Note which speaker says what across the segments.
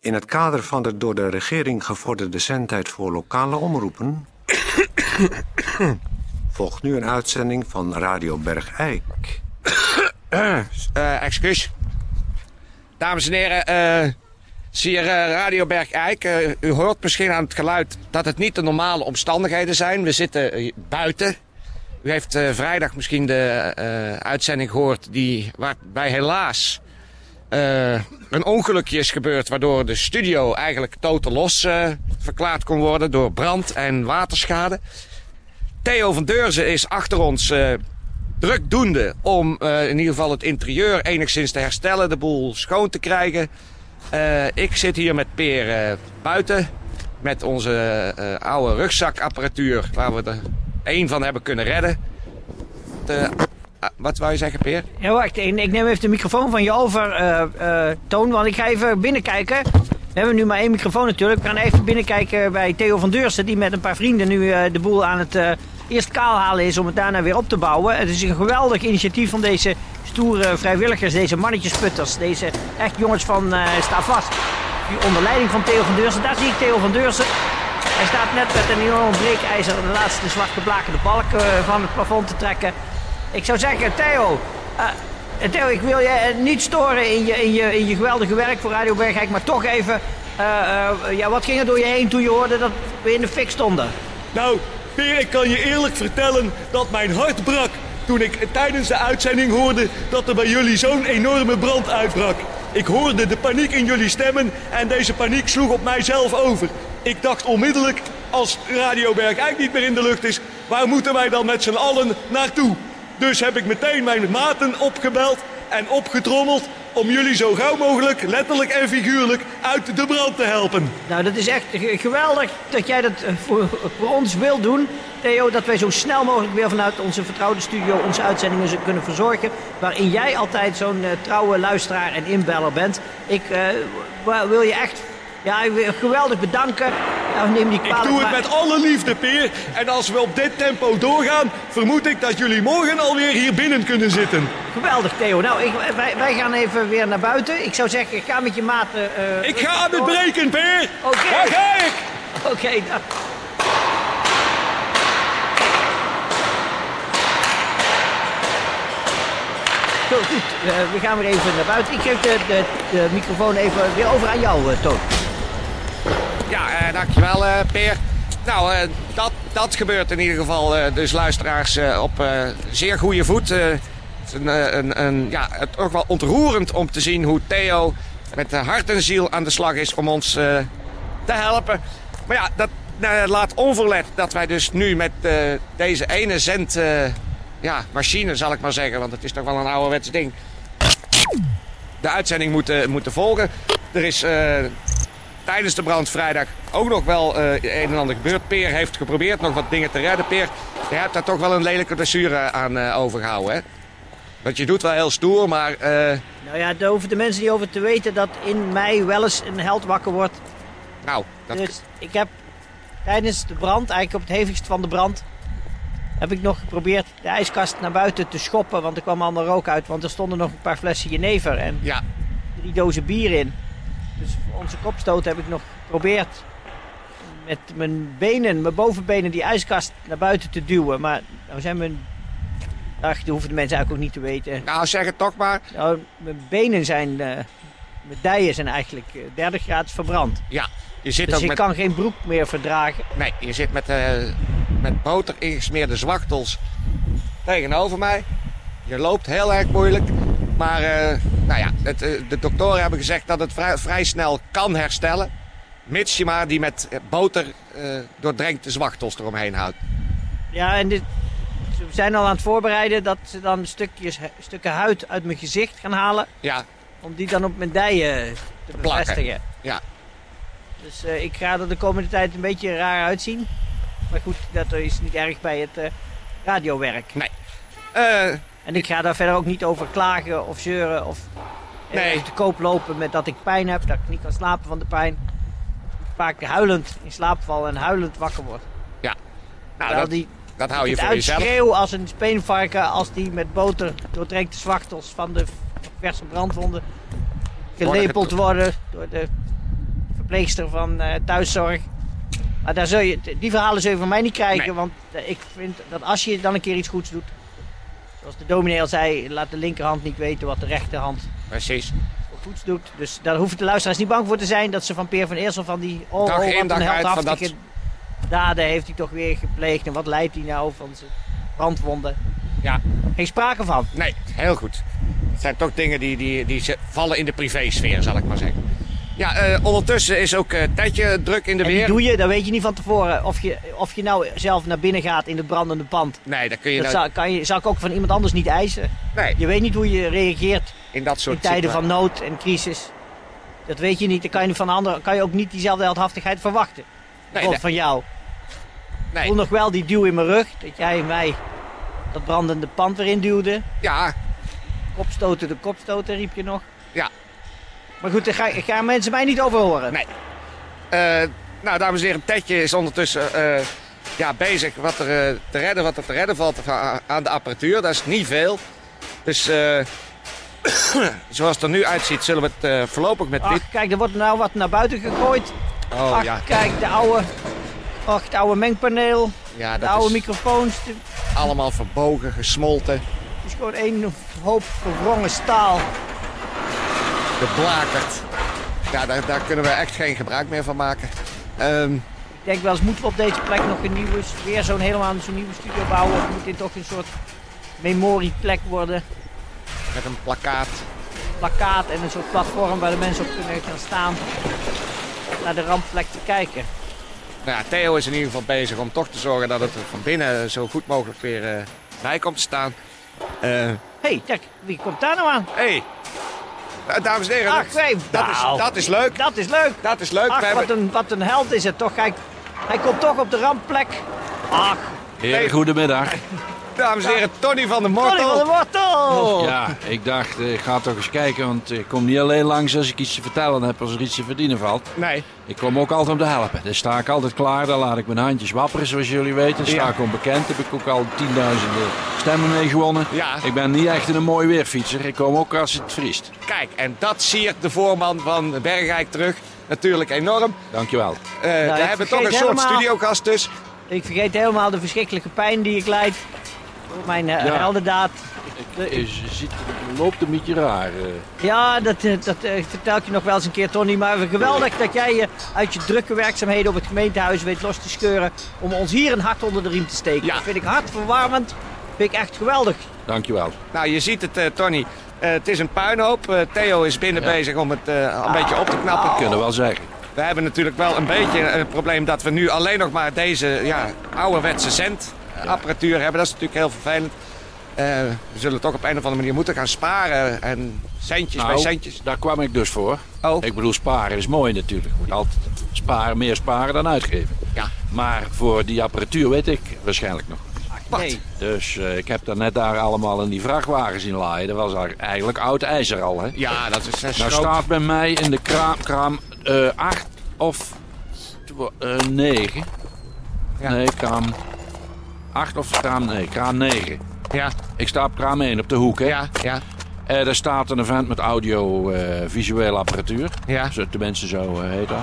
Speaker 1: In het kader van de door de regering gevorderde zendtijd voor lokale omroepen... volgt nu een uitzending van Radio Bergijk.
Speaker 2: Eh, excuus. Dames en heren, eh zie hier eh, Radio Bergijk. Eh, u hoort misschien aan het geluid dat het niet de normale omstandigheden zijn. We zitten eh, buiten. U heeft eh, vrijdag misschien de eh, uitzending gehoord die, waarbij helaas eh, een ongelukje is gebeurd. Waardoor de studio eigenlijk totaal los eh, verklaard kon worden door brand en waterschade. Theo van Deurzen is achter ons eh, drukdoende om eh, in ieder geval het interieur enigszins te herstellen, de boel schoon te krijgen. Eh, ik zit hier met Peer eh, buiten met onze eh, oude rugzakapparatuur waar we er één van hebben kunnen redden. De- ah, wat wou je zeggen, Peer?
Speaker 3: Ja, wacht. Ik, ik neem even de microfoon van je over, eh, eh, Toon. Want ik ga even binnenkijken. We hebben nu maar één microfoon natuurlijk. We gaan even binnenkijken bij Theo van Deursen. Die met een paar vrienden nu eh, de boel aan het eh, eerst kaal halen is. Om het daarna weer op te bouwen. Het is een geweldig initiatief van deze stoere vrijwilligers. Deze mannetjesputters. Deze echt jongens van eh Sta Vast. Die onder leiding van Theo van Deursen. Daar zie ik Theo van Deursen. Hij staat net met een enorm breekijzer de laatste zwarte blakende balk eh, van het plafond te trekken. Ik zou zeggen, Theo, eh, Theo, ik wil je eh, niet storen in je, in, je, in je geweldige werk voor Radio Bergijk, maar toch even, eh, eh, ja, wat ging er door je heen toen je hoorde dat we in de fik stonden?
Speaker 4: Nou, Peer, ik kan je eerlijk vertellen dat mijn hart brak toen ik tijdens de uitzending hoorde dat er bij jullie zo'n enorme brand uitbrak. Ik hoorde de paniek in jullie stemmen en deze paniek sloeg op mijzelf over. Ik dacht onmiddellijk, als Radio Bergijk niet meer in de lucht is, waar moeten wij dan met z'n allen naartoe? Dus heb ik meteen mijn maten opgebeld en opgetrommeld om jullie zo gauw mogelijk, letterlijk en figuurlijk, uit de brand te helpen.
Speaker 3: Nou, dat is echt ge- geweldig dat jij dat eh, voor, voor ons wil doen, Theo. Dat wij zo snel mogelijk weer vanuit onze vertrouwde studio onze uitzendingen z- kunnen verzorgen. Waarin jij altijd zo'n eh, trouwe luisteraar en inbeller bent. Ik eh, wa- wil je echt ja, ik wil- geweldig bedanken. Nou, neem die
Speaker 4: Ik
Speaker 3: kwalijk,
Speaker 4: doe het
Speaker 3: maar-
Speaker 4: met alle liefde, Peer. En als we op dit tempo doorgaan, vermoed ik dat jullie morgen alweer hier binnen kunnen zitten.
Speaker 3: Geweldig, Theo. Nou, ik, wij, wij gaan even weer naar buiten. Ik zou zeggen, ga met je maten... eh,
Speaker 4: Ik ga aan het breken, Peer.
Speaker 3: Oké.
Speaker 4: Daar ga ik.
Speaker 3: Oké, nou. Zo, goed. eh, we gaan weer even naar buiten. Ik geef de, de, de microfoon even weer over aan jou, eh, Toon.
Speaker 2: Ja, eh, dankjewel eh, Peer. Nou, eh, dat, dat gebeurt in ieder geval. eh, dus luisteraars eh, op eh, zeer goede voet. Eh, het is een, eh, een, een, ja, het ook wel ontroerend om te zien hoe Theo met eh, hart en ziel aan de slag is om ons eh, te helpen. Maar ja, dat eh, laat onverlet dat wij dus nu met eh, deze ene zend... eh, ja, machine zal ik maar zeggen, want het is toch wel een ouderwets ding. De uitzending moeten, moeten volgen. Er is eh, tijdens de brand vrijdag ook nog wel eh een en ander gebeurd. Peer heeft geprobeerd nog wat dingen te redden. Peer, je hebt daar toch wel een lelijke blessure aan eh, overgehouden, hè? Want je doet wel heel stoer, maar eh,
Speaker 3: Nou ja, daar hoeven de mensen niet over te weten dat in mij wel eens een held wakker wordt.
Speaker 2: nou, dat,
Speaker 3: Dus ik heb tijdens de brand, eigenlijk op het hevigst van de brand, heb ik nog geprobeerd de ijskast naar buiten te schoppen. Want er kwam allemaal rook uit, want er stonden nog een paar flessen jenever en
Speaker 2: ja,
Speaker 3: drie dozen bier in. Dus voor onze kopstoot heb ik nog geprobeerd met mijn benen, mijn bovenbenen, die ijskast naar buiten te duwen. Maar nou zijn mijn... Ach, dat hoeven de mensen eigenlijk ook niet te weten.
Speaker 2: nou zeg het toch maar.
Speaker 3: Nou, mijn benen zijn... eh, mijn dijen zijn eigenlijk eh, derde graad verbrand.
Speaker 2: Ja, je zit
Speaker 3: Dus
Speaker 2: ook
Speaker 3: ik
Speaker 2: met,
Speaker 3: kan geen broek meer verdragen.
Speaker 2: nee, je zit met, eh, met boter ingesmeerde zwachtels tegenover mij. Je loopt heel erg moeilijk. Maar eh, nou ja, het, eh, de doktoren hebben gezegd dat het vrij, vrij snel kan herstellen. Mits je maar die met eh, boter eh, doordrenkte zwachtels eromheen houdt.
Speaker 3: Ja, en dit, ze zijn al aan het voorbereiden dat ze dan stukjes, stukken huid uit mijn gezicht gaan halen.
Speaker 2: Ja,
Speaker 3: Om die dan op mijn dijen te
Speaker 2: plakken.
Speaker 3: bevestigen.
Speaker 2: ja.
Speaker 3: Dus eh, ik ga er de komende tijd een beetje raar uitzien. Maar goed, dat is niet erg bij het eh, radiowerk.
Speaker 2: Eh,
Speaker 3: En ik ga daar verder ook niet over klagen of zeuren of eh,
Speaker 2: Nee.
Speaker 3: te koop lopen met dat ik pijn heb. Dat ik niet kan slapen van de pijn. Vaak huilend in slaap val en huilend wakker word.
Speaker 2: nou,
Speaker 3: Terwijl
Speaker 2: dat,
Speaker 3: die
Speaker 2: dat hou je
Speaker 3: het
Speaker 2: voor jezelf.
Speaker 3: uitschreeuw als een speenvarken als die met boter doordrenkt de zwachtels van de verse brandwonden gelepeld worden door de verpleegster van eh, thuiszorg. Maar daar zul je, die verhalen zul je van mij niet krijgen. Want eh, ik vind dat als je dan een keer iets goeds doet. Zoals de dominee al zei, laat de linkerhand niet weten wat de rechterhand
Speaker 2: Precies.
Speaker 3: voor goeds doet. Dus daar hoeven de luisteraars niet bang voor te zijn dat ze van Peer van Eersel van die oh,
Speaker 2: Dag
Speaker 3: oh,
Speaker 2: in,
Speaker 3: wat
Speaker 2: dag
Speaker 3: een
Speaker 2: uit van
Speaker 3: heldhaftige daden heeft hij toch weer gepleegd. En wat leidt hij nou van zijn brandwonden?
Speaker 2: Ja,
Speaker 3: Geen sprake van.
Speaker 2: nee, heel goed. Het zijn toch dingen die, die, die ze- vallen in de privésfeer, zal ik maar zeggen. Ja, eh, ondertussen is ook eh Tijdje druk in de
Speaker 3: En die
Speaker 2: weer.
Speaker 3: doe je, dat weet je niet van tevoren. Of je, of je nou zelf naar binnen gaat in het brandende pand.
Speaker 2: Nee, dat kun je
Speaker 3: Dat
Speaker 2: nou-
Speaker 3: zou, kan je, zou ik ook van iemand anders niet eisen.
Speaker 2: Nee,
Speaker 3: Je weet niet hoe je reageert
Speaker 2: in dat soort
Speaker 3: in tijden
Speaker 2: situa-
Speaker 3: van nood en crisis. Dat weet je niet. Dan kan je, van anderen, kan je ook niet diezelfde heldhaftigheid verwachten.
Speaker 2: Nee,
Speaker 3: Bijvoorbeeld
Speaker 2: nee,
Speaker 3: van jou. Ik
Speaker 2: nee.
Speaker 3: voel nog wel die duw in mijn rug. Dat jij mij dat brandende pand weer induwde.
Speaker 2: Ja,
Speaker 3: Kopstoten de kopstoten riep je nog.
Speaker 2: Ja.
Speaker 3: Maar goed, daar ga- gaan mensen mij niet over horen.
Speaker 2: Nee. Eh, nou, dames en heren, Tedje is ondertussen eh, ja, bezig wat er eh, te redden, wat er te redden valt va- aan de apparatuur. Dat is niet veel. Dus eh, zoals het er nu uitziet, zullen we het eh, voorlopig met dit...
Speaker 3: Ach, kijk, er wordt nou wat naar buiten gegooid.
Speaker 2: Oh
Speaker 3: Ach,
Speaker 2: ja,
Speaker 3: kijk, de oude, ach, het oude mengpaneel,
Speaker 2: ja
Speaker 3: de
Speaker 2: dat
Speaker 3: oude
Speaker 2: is
Speaker 3: microfoons. de-
Speaker 2: allemaal verbogen, gesmolten.
Speaker 3: Het is gewoon één hoop verwrongen staal.
Speaker 2: Geblakerd. Ja, daar, daar kunnen we echt geen gebruik meer van maken. Ehm,
Speaker 3: Ik denk wel eens, moeten we op deze plek nog een nieuwe, weer zo'n helemaal zo'n nieuwe studio bouwen? Of moet dit toch een soort memorieplek worden?
Speaker 2: met een plakkaat.
Speaker 3: Plakkaat en een soort platform waar de mensen op kunnen gaan staan. Naar de rampplek te kijken.
Speaker 2: Nou ja, Theo is in ieder geval bezig om toch te zorgen dat het er van binnen zo goed mogelijk weer eh, bij komt te staan. Eh,
Speaker 3: Hé, hey, kijk, wie komt daar nou aan?
Speaker 2: Hey. Eh, Dames en heren,
Speaker 3: Ach,
Speaker 2: dat,
Speaker 3: nee,
Speaker 2: dat is,
Speaker 3: nou.
Speaker 2: dat is leuk.
Speaker 3: Dat is leuk!
Speaker 2: Dat is leuk. We
Speaker 3: Ach,
Speaker 2: hebben-
Speaker 3: wat een, wat een held is het toch? Hij, hij komt toch op de rampplek. Ach,
Speaker 5: Heren, goedemiddag.
Speaker 2: Dames en heren, Tony van der
Speaker 3: Tony van de
Speaker 2: Mortel.
Speaker 3: Wortel!
Speaker 5: Ja, ik dacht, eh, ik ga toch eens kijken, want ik kom niet alleen langs als ik iets te vertellen heb, als er iets te verdienen valt.
Speaker 2: Nee,
Speaker 5: Ik kom ook altijd om te helpen. Daar sta ik altijd klaar, daar laat ik mijn handjes wapperen, zoals jullie weten. Sta
Speaker 2: Ja.
Speaker 5: ik onbekend, heb ik ook al tienduizenden stemmen mee gewonnen.
Speaker 2: Ja.
Speaker 5: Ik ben niet echt een mooi weerfietser, ik kom ook als het vriest.
Speaker 2: kijk, en dat siert de voorman van Bergrijk terug. Natuurlijk enorm.
Speaker 5: Dankjewel.
Speaker 2: Eh,
Speaker 3: Nou, ik
Speaker 2: we hebben toch een
Speaker 3: vergeet
Speaker 2: soort
Speaker 3: helemaal-
Speaker 2: studiogast dus.
Speaker 3: Ik vergeet helemaal de verschrikkelijke pijn die ik lijd. Door mijn eh,
Speaker 5: Ja.
Speaker 3: heldendaad.
Speaker 5: Ik, je ziet, je loopt een beetje raar. eh.
Speaker 3: Ja, dat, eh, dat eh, vertel ik je nog wel eens een keer, Tony. Maar geweldig dat jij je uit je drukke werkzaamheden op het gemeentehuis weet los te scheuren. om ons hier een hart onder de riem te steken.
Speaker 2: Ja.
Speaker 3: Dat vind ik hartverwarmend. Vind ik echt geweldig.
Speaker 5: Dankjewel.
Speaker 2: Nou, je ziet het, eh, Tony. Eh, het is een puinhoop. Eh, Theo is binnen
Speaker 5: Ja.
Speaker 2: bezig om het eh, een beetje op te knappen.
Speaker 5: Ah, Kunnen wel zeggen.
Speaker 2: We hebben natuurlijk wel een beetje eh, het probleem dat we nu alleen nog maar deze ja, ouderwetse zendapparatuur hebben. Dat is natuurlijk heel vervelend. Eh, we zullen toch op een of andere manier moeten gaan sparen. En centjes bij centjes.
Speaker 5: daar kwam ik dus voor.
Speaker 2: Nou. Oh.
Speaker 5: Ik bedoel, sparen is mooi natuurlijk. Je moet altijd sparen, meer sparen dan uitgeven.
Speaker 2: Ja.
Speaker 5: Maar voor die apparatuur weet ik waarschijnlijk nog.
Speaker 2: Wat?
Speaker 3: Nee.
Speaker 5: Dus eh, ik heb daar net daar allemaal in die vrachtwagen zien laaien. Dat was daar eigenlijk oud ijzer al. Hè?
Speaker 2: Ja, dat is een
Speaker 5: Nou staat bij mij in de kraam, kraam 8 of 9.
Speaker 2: Ja.
Speaker 5: Nee, kraam 8 of kraam, nee, kraam 9.
Speaker 2: Ja,
Speaker 5: Ik sta op kraam 1 op de hoek. Hè?
Speaker 2: ja, ja.
Speaker 5: Eh, daar staat een vent met audio-visuele apparatuur.
Speaker 2: Ja.
Speaker 5: Zo, Tenminste, zo eh, heet dat.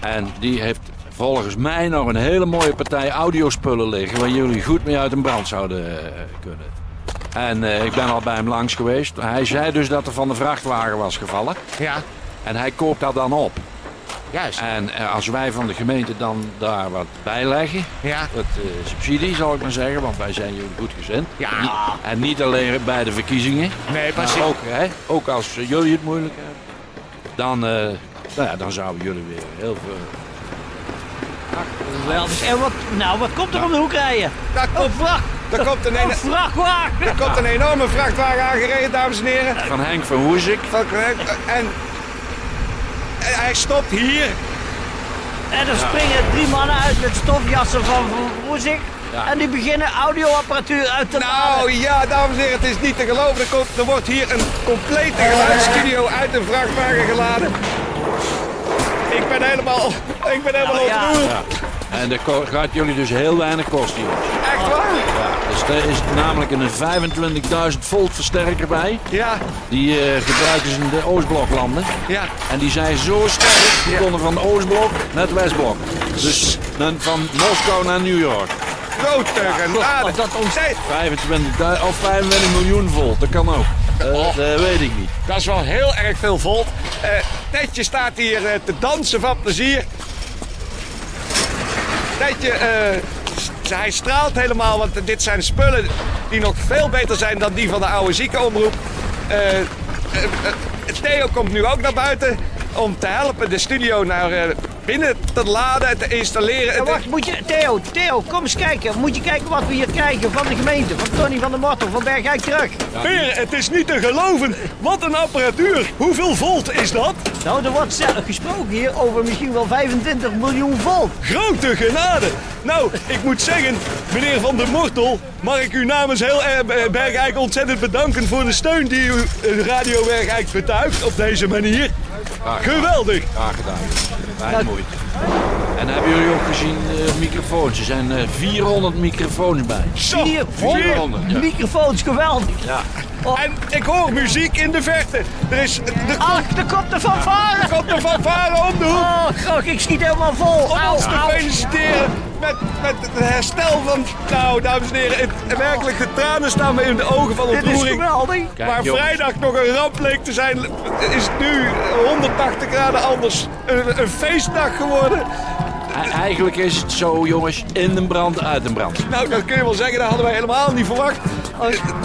Speaker 5: En die heeft volgens mij nog een hele mooie partij audiospullen liggen... waar jullie goed mee uit een brand zouden eh, kunnen. En eh, ik ben al bij hem langs geweest. Hij zei dus dat er van de vrachtwagen was gevallen.
Speaker 2: Ja,
Speaker 5: En hij koopt dat dan op.
Speaker 2: juist.
Speaker 5: En eh, als wij van de gemeente dan daar wat bij leggen...
Speaker 2: Ja,
Speaker 5: Wat eh, subsidie, zal ik maar zeggen, want wij zijn jullie goed gezind.
Speaker 2: Ja.
Speaker 5: En niet- En niet alleen bij de verkiezingen.
Speaker 2: nee, precies.
Speaker 5: Maar ook, hè, ook als eh, jullie het moeilijk hebben, dan, eh, nou ja, dan zouden jullie weer heel veel.
Speaker 3: Geweldig. En wat, nou, wat komt er om de hoek rijden?
Speaker 2: Daar
Speaker 3: Een
Speaker 2: komt,
Speaker 3: vracht,
Speaker 2: daar komt een,
Speaker 3: een
Speaker 2: ene-
Speaker 3: vrachtwagen!
Speaker 2: daar komt een enorme vrachtwagen aangereden, dames en heren.
Speaker 5: Van Henk van Hoezik.
Speaker 2: Van- En, en hij stopt hier.
Speaker 3: En er springen drie mannen uit met stofjassen van Van Roesink.
Speaker 5: Ja.
Speaker 3: En die beginnen audioapparatuur uit te
Speaker 2: Nou
Speaker 3: laden.
Speaker 2: ja, dames en heren, het is niet te geloven. Er, komt, er wordt hier een complete geluidsstudio uit een vrachtwagen geladen. Ik ben helemaal, ik ben helemaal
Speaker 3: Nou ja.
Speaker 2: ontroerd.
Speaker 5: En dat ko- gaat jullie dus heel weinig kosten, jongens.
Speaker 2: Echt waar?
Speaker 5: Dus er is namelijk een 25.000 volt versterker bij.
Speaker 2: Ja,
Speaker 5: Die eh, gebruiken ze in de Oostbloklanden.
Speaker 2: ja.
Speaker 5: En die zijn zo sterk, die
Speaker 2: Ja.
Speaker 5: konden van Oostblok naar het Westblok. Dus dan van Moskou naar New York.
Speaker 2: Ah, Groottegenade.
Speaker 3: dat
Speaker 2: Nee,
Speaker 5: 25, du- of 25 miljoen volt, dat kan ook. Eh,
Speaker 2: Oh.
Speaker 5: Dat weet ik niet.
Speaker 2: Dat is wel heel erg veel volt. Eh Tetje staat hier eh, te dansen van plezier. Tetje, eh, s- hij straalt helemaal, want dit zijn spullen die nog veel beter zijn dan die van de oude ziekenomroep. Eh, eh, eh, Theo komt nu ook naar buiten om te helpen de studio naar eh, binnen te laden en te installeren.
Speaker 3: Ja, wacht, moet je, Theo, Theo, kom eens kijken. Moet je kijken wat we hier krijgen van de gemeente, van Tony van der Mortel, van Bergijk terug.
Speaker 4: Peer, het is niet te geloven. Wat een apparatuur. Hoeveel volt is dat?
Speaker 3: Nou, er wordt zelf gesproken hier over misschien wel 25 miljoen volt.
Speaker 4: Grote genade. Nou, ik moet zeggen, meneer Van der Mortel, mag ik u namens heel eh, Bergijk ontzettend bedanken voor de steun die u eh, Radio Bergijk betuigt op deze manier. Geweldig.
Speaker 5: Graag gedaan. Mijn moeite. En hebben jullie ook gezien eh, microfoons? Er zijn eh, 400 microfoons bij.
Speaker 4: Zo,
Speaker 3: 400
Speaker 5: ja.
Speaker 3: microfoons, geweldig.
Speaker 5: Ja.
Speaker 4: En ik hoor muziek in de verte. Er is... Er
Speaker 3: Alk, er komt de fanfare.
Speaker 4: komt een fanfare om de hoek.
Speaker 3: Oh, grog, ik schiet helemaal vol.
Speaker 4: Om
Speaker 3: Au,
Speaker 4: ons te
Speaker 3: au.
Speaker 4: feliciteren met, met het herstel van... Nou, dames en heren, het, werkelijk de tranen staan me in de ogen van
Speaker 3: Dit is
Speaker 4: ontroering.
Speaker 3: geweldig.
Speaker 5: Kijk,
Speaker 4: Waar
Speaker 5: jongens.
Speaker 4: vrijdag nog een ramp leek te zijn, is het nu 180 graden anders. Een, een feestdag geworden.
Speaker 5: E- Eigenlijk is het zo, jongens, in een brand, uit een brand.
Speaker 4: Nou, dat kun je wel zeggen, dat hadden wij helemaal niet verwacht.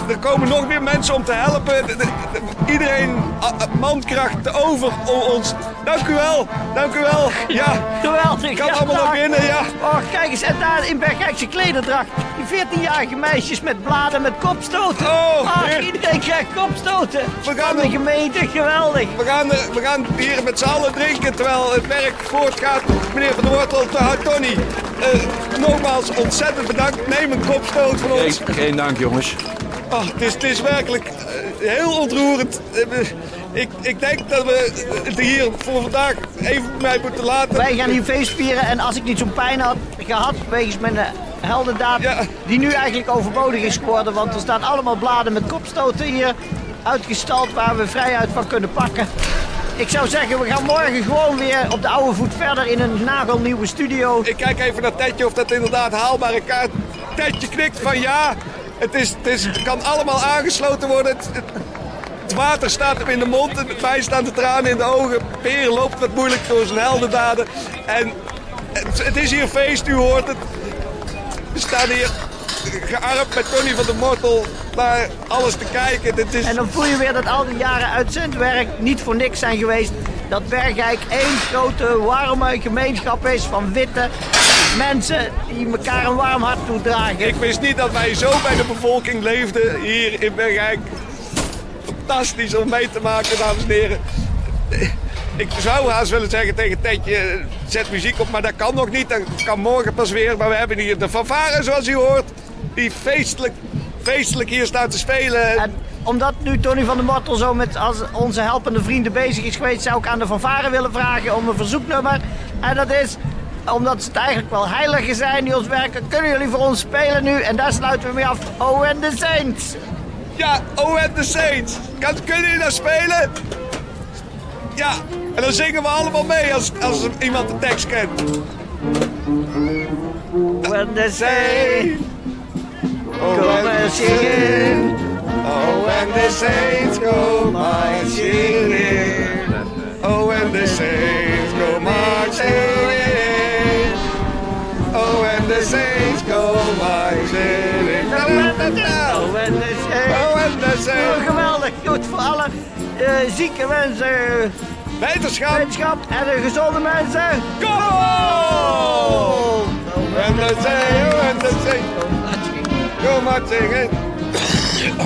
Speaker 4: Er komen nog meer mensen om te helpen. De- de- de- Iedereen a- a- mankracht te over om ons. Dank u wel, dank u wel. Ja,
Speaker 3: Geweldig.
Speaker 4: kan
Speaker 3: ja,
Speaker 4: allemaal naar
Speaker 3: dag.
Speaker 4: binnen, ja.
Speaker 3: Och, kijk eens, en daar in Bergijkse klederdracht. Die 14-jarige meisjes met bladen met kopstoten.
Speaker 4: Oh,
Speaker 3: Ach,
Speaker 4: heer.
Speaker 3: iedereen krijgt kopstoten.
Speaker 4: We gaan
Speaker 3: Van de
Speaker 4: hem-
Speaker 3: gemeente, geweldig.
Speaker 4: We gaan, eh, we gaan hier met z'n allen drinken terwijl het werk voortgaat. Meneer Van der Wortel, te hard, Tony. Eh, nogmaals, ontzettend bedankt. Neem een kopstoot van ons.
Speaker 5: Geen, geen dank, jongens.
Speaker 4: Ah, het, is, het is werkelijk eh, heel ontroerend. Eh, we- ik, ik denk dat we het hier voor vandaag even bij moeten laten.
Speaker 3: Wij gaan hier feest vieren en als ik niet zo'n pijn had gehad wegens mijn eh, heldendaad,
Speaker 4: Ja.
Speaker 3: die nu eigenlijk overbodig is geworden, want er staan allemaal bladen met kopstoten hier uitgestald waar we vrijheid van kunnen pakken. Ik zou zeggen, we gaan morgen gewoon weer op de oude voet verder in een nagelnieuwe studio.
Speaker 4: Ik kijk even naar Tedje of dat inderdaad haalbare kaart. Tedje knikt van ja. Het, is, het, is, het kan allemaal aangesloten worden. Het, het- het water staat hem in de mond. en Mij staan de tranen in de ogen. Peer loopt wat moeilijk door zijn heldendaden. En het, het is hier feest, u hoort het. We staan hier gearmd met Tony van der Mortel naar alles te kijken. Dit is...
Speaker 3: En dan voel je weer dat al die jaren uitzendwerk niet voor niks zijn geweest. Dat Bergijk één grote warme gemeenschap is van witte mensen die elkaar een warm hart toedragen.
Speaker 4: Ik wist niet dat wij zo bij de bevolking leefden hier in Bergijk. Fantastisch om mee te maken, dames en heren. Ik zou haast willen zeggen tegen Tedje, zet muziek op, maar dat kan nog niet. Dat kan morgen pas weer. Maar we hebben hier de fanfare, zoals u hoort, die feestelijk, feestelijk hier staat te spelen.
Speaker 3: En omdat nu Tony van der Mortel zo met als onze helpende vrienden bezig is geweest, zou ik aan de fanfare willen vragen om een verzoeknummer. En dat is, omdat ze het eigenlijk wel heiligen zijn die ons werken, kunnen jullie voor ons spelen nu? En daar sluiten we mee af. Oh en de Saints!
Speaker 4: Ja, Oh and the Saints. Kan, kunnen jullie dat spelen? Ja, en dan zingen we allemaal mee als, als iemand de tekst kent.
Speaker 3: Oh en de Saints! Kom en zingen!
Speaker 4: Oh, and the saints go marching in. Oh, and the saints go marching in. Oh, and the saints go marching in. Oh, Da, da, da, da.
Speaker 3: Oh en de Saints!
Speaker 4: Oh, and the
Speaker 3: Oh,
Speaker 4: saints.
Speaker 3: geweldig! Goed voor alle eh, zieke mensen,
Speaker 4: Wetenschap,
Speaker 3: wetenschap en de gezonde mensen.
Speaker 4: go! Oh, And the saints, oh, and the Oh, saints go marching in.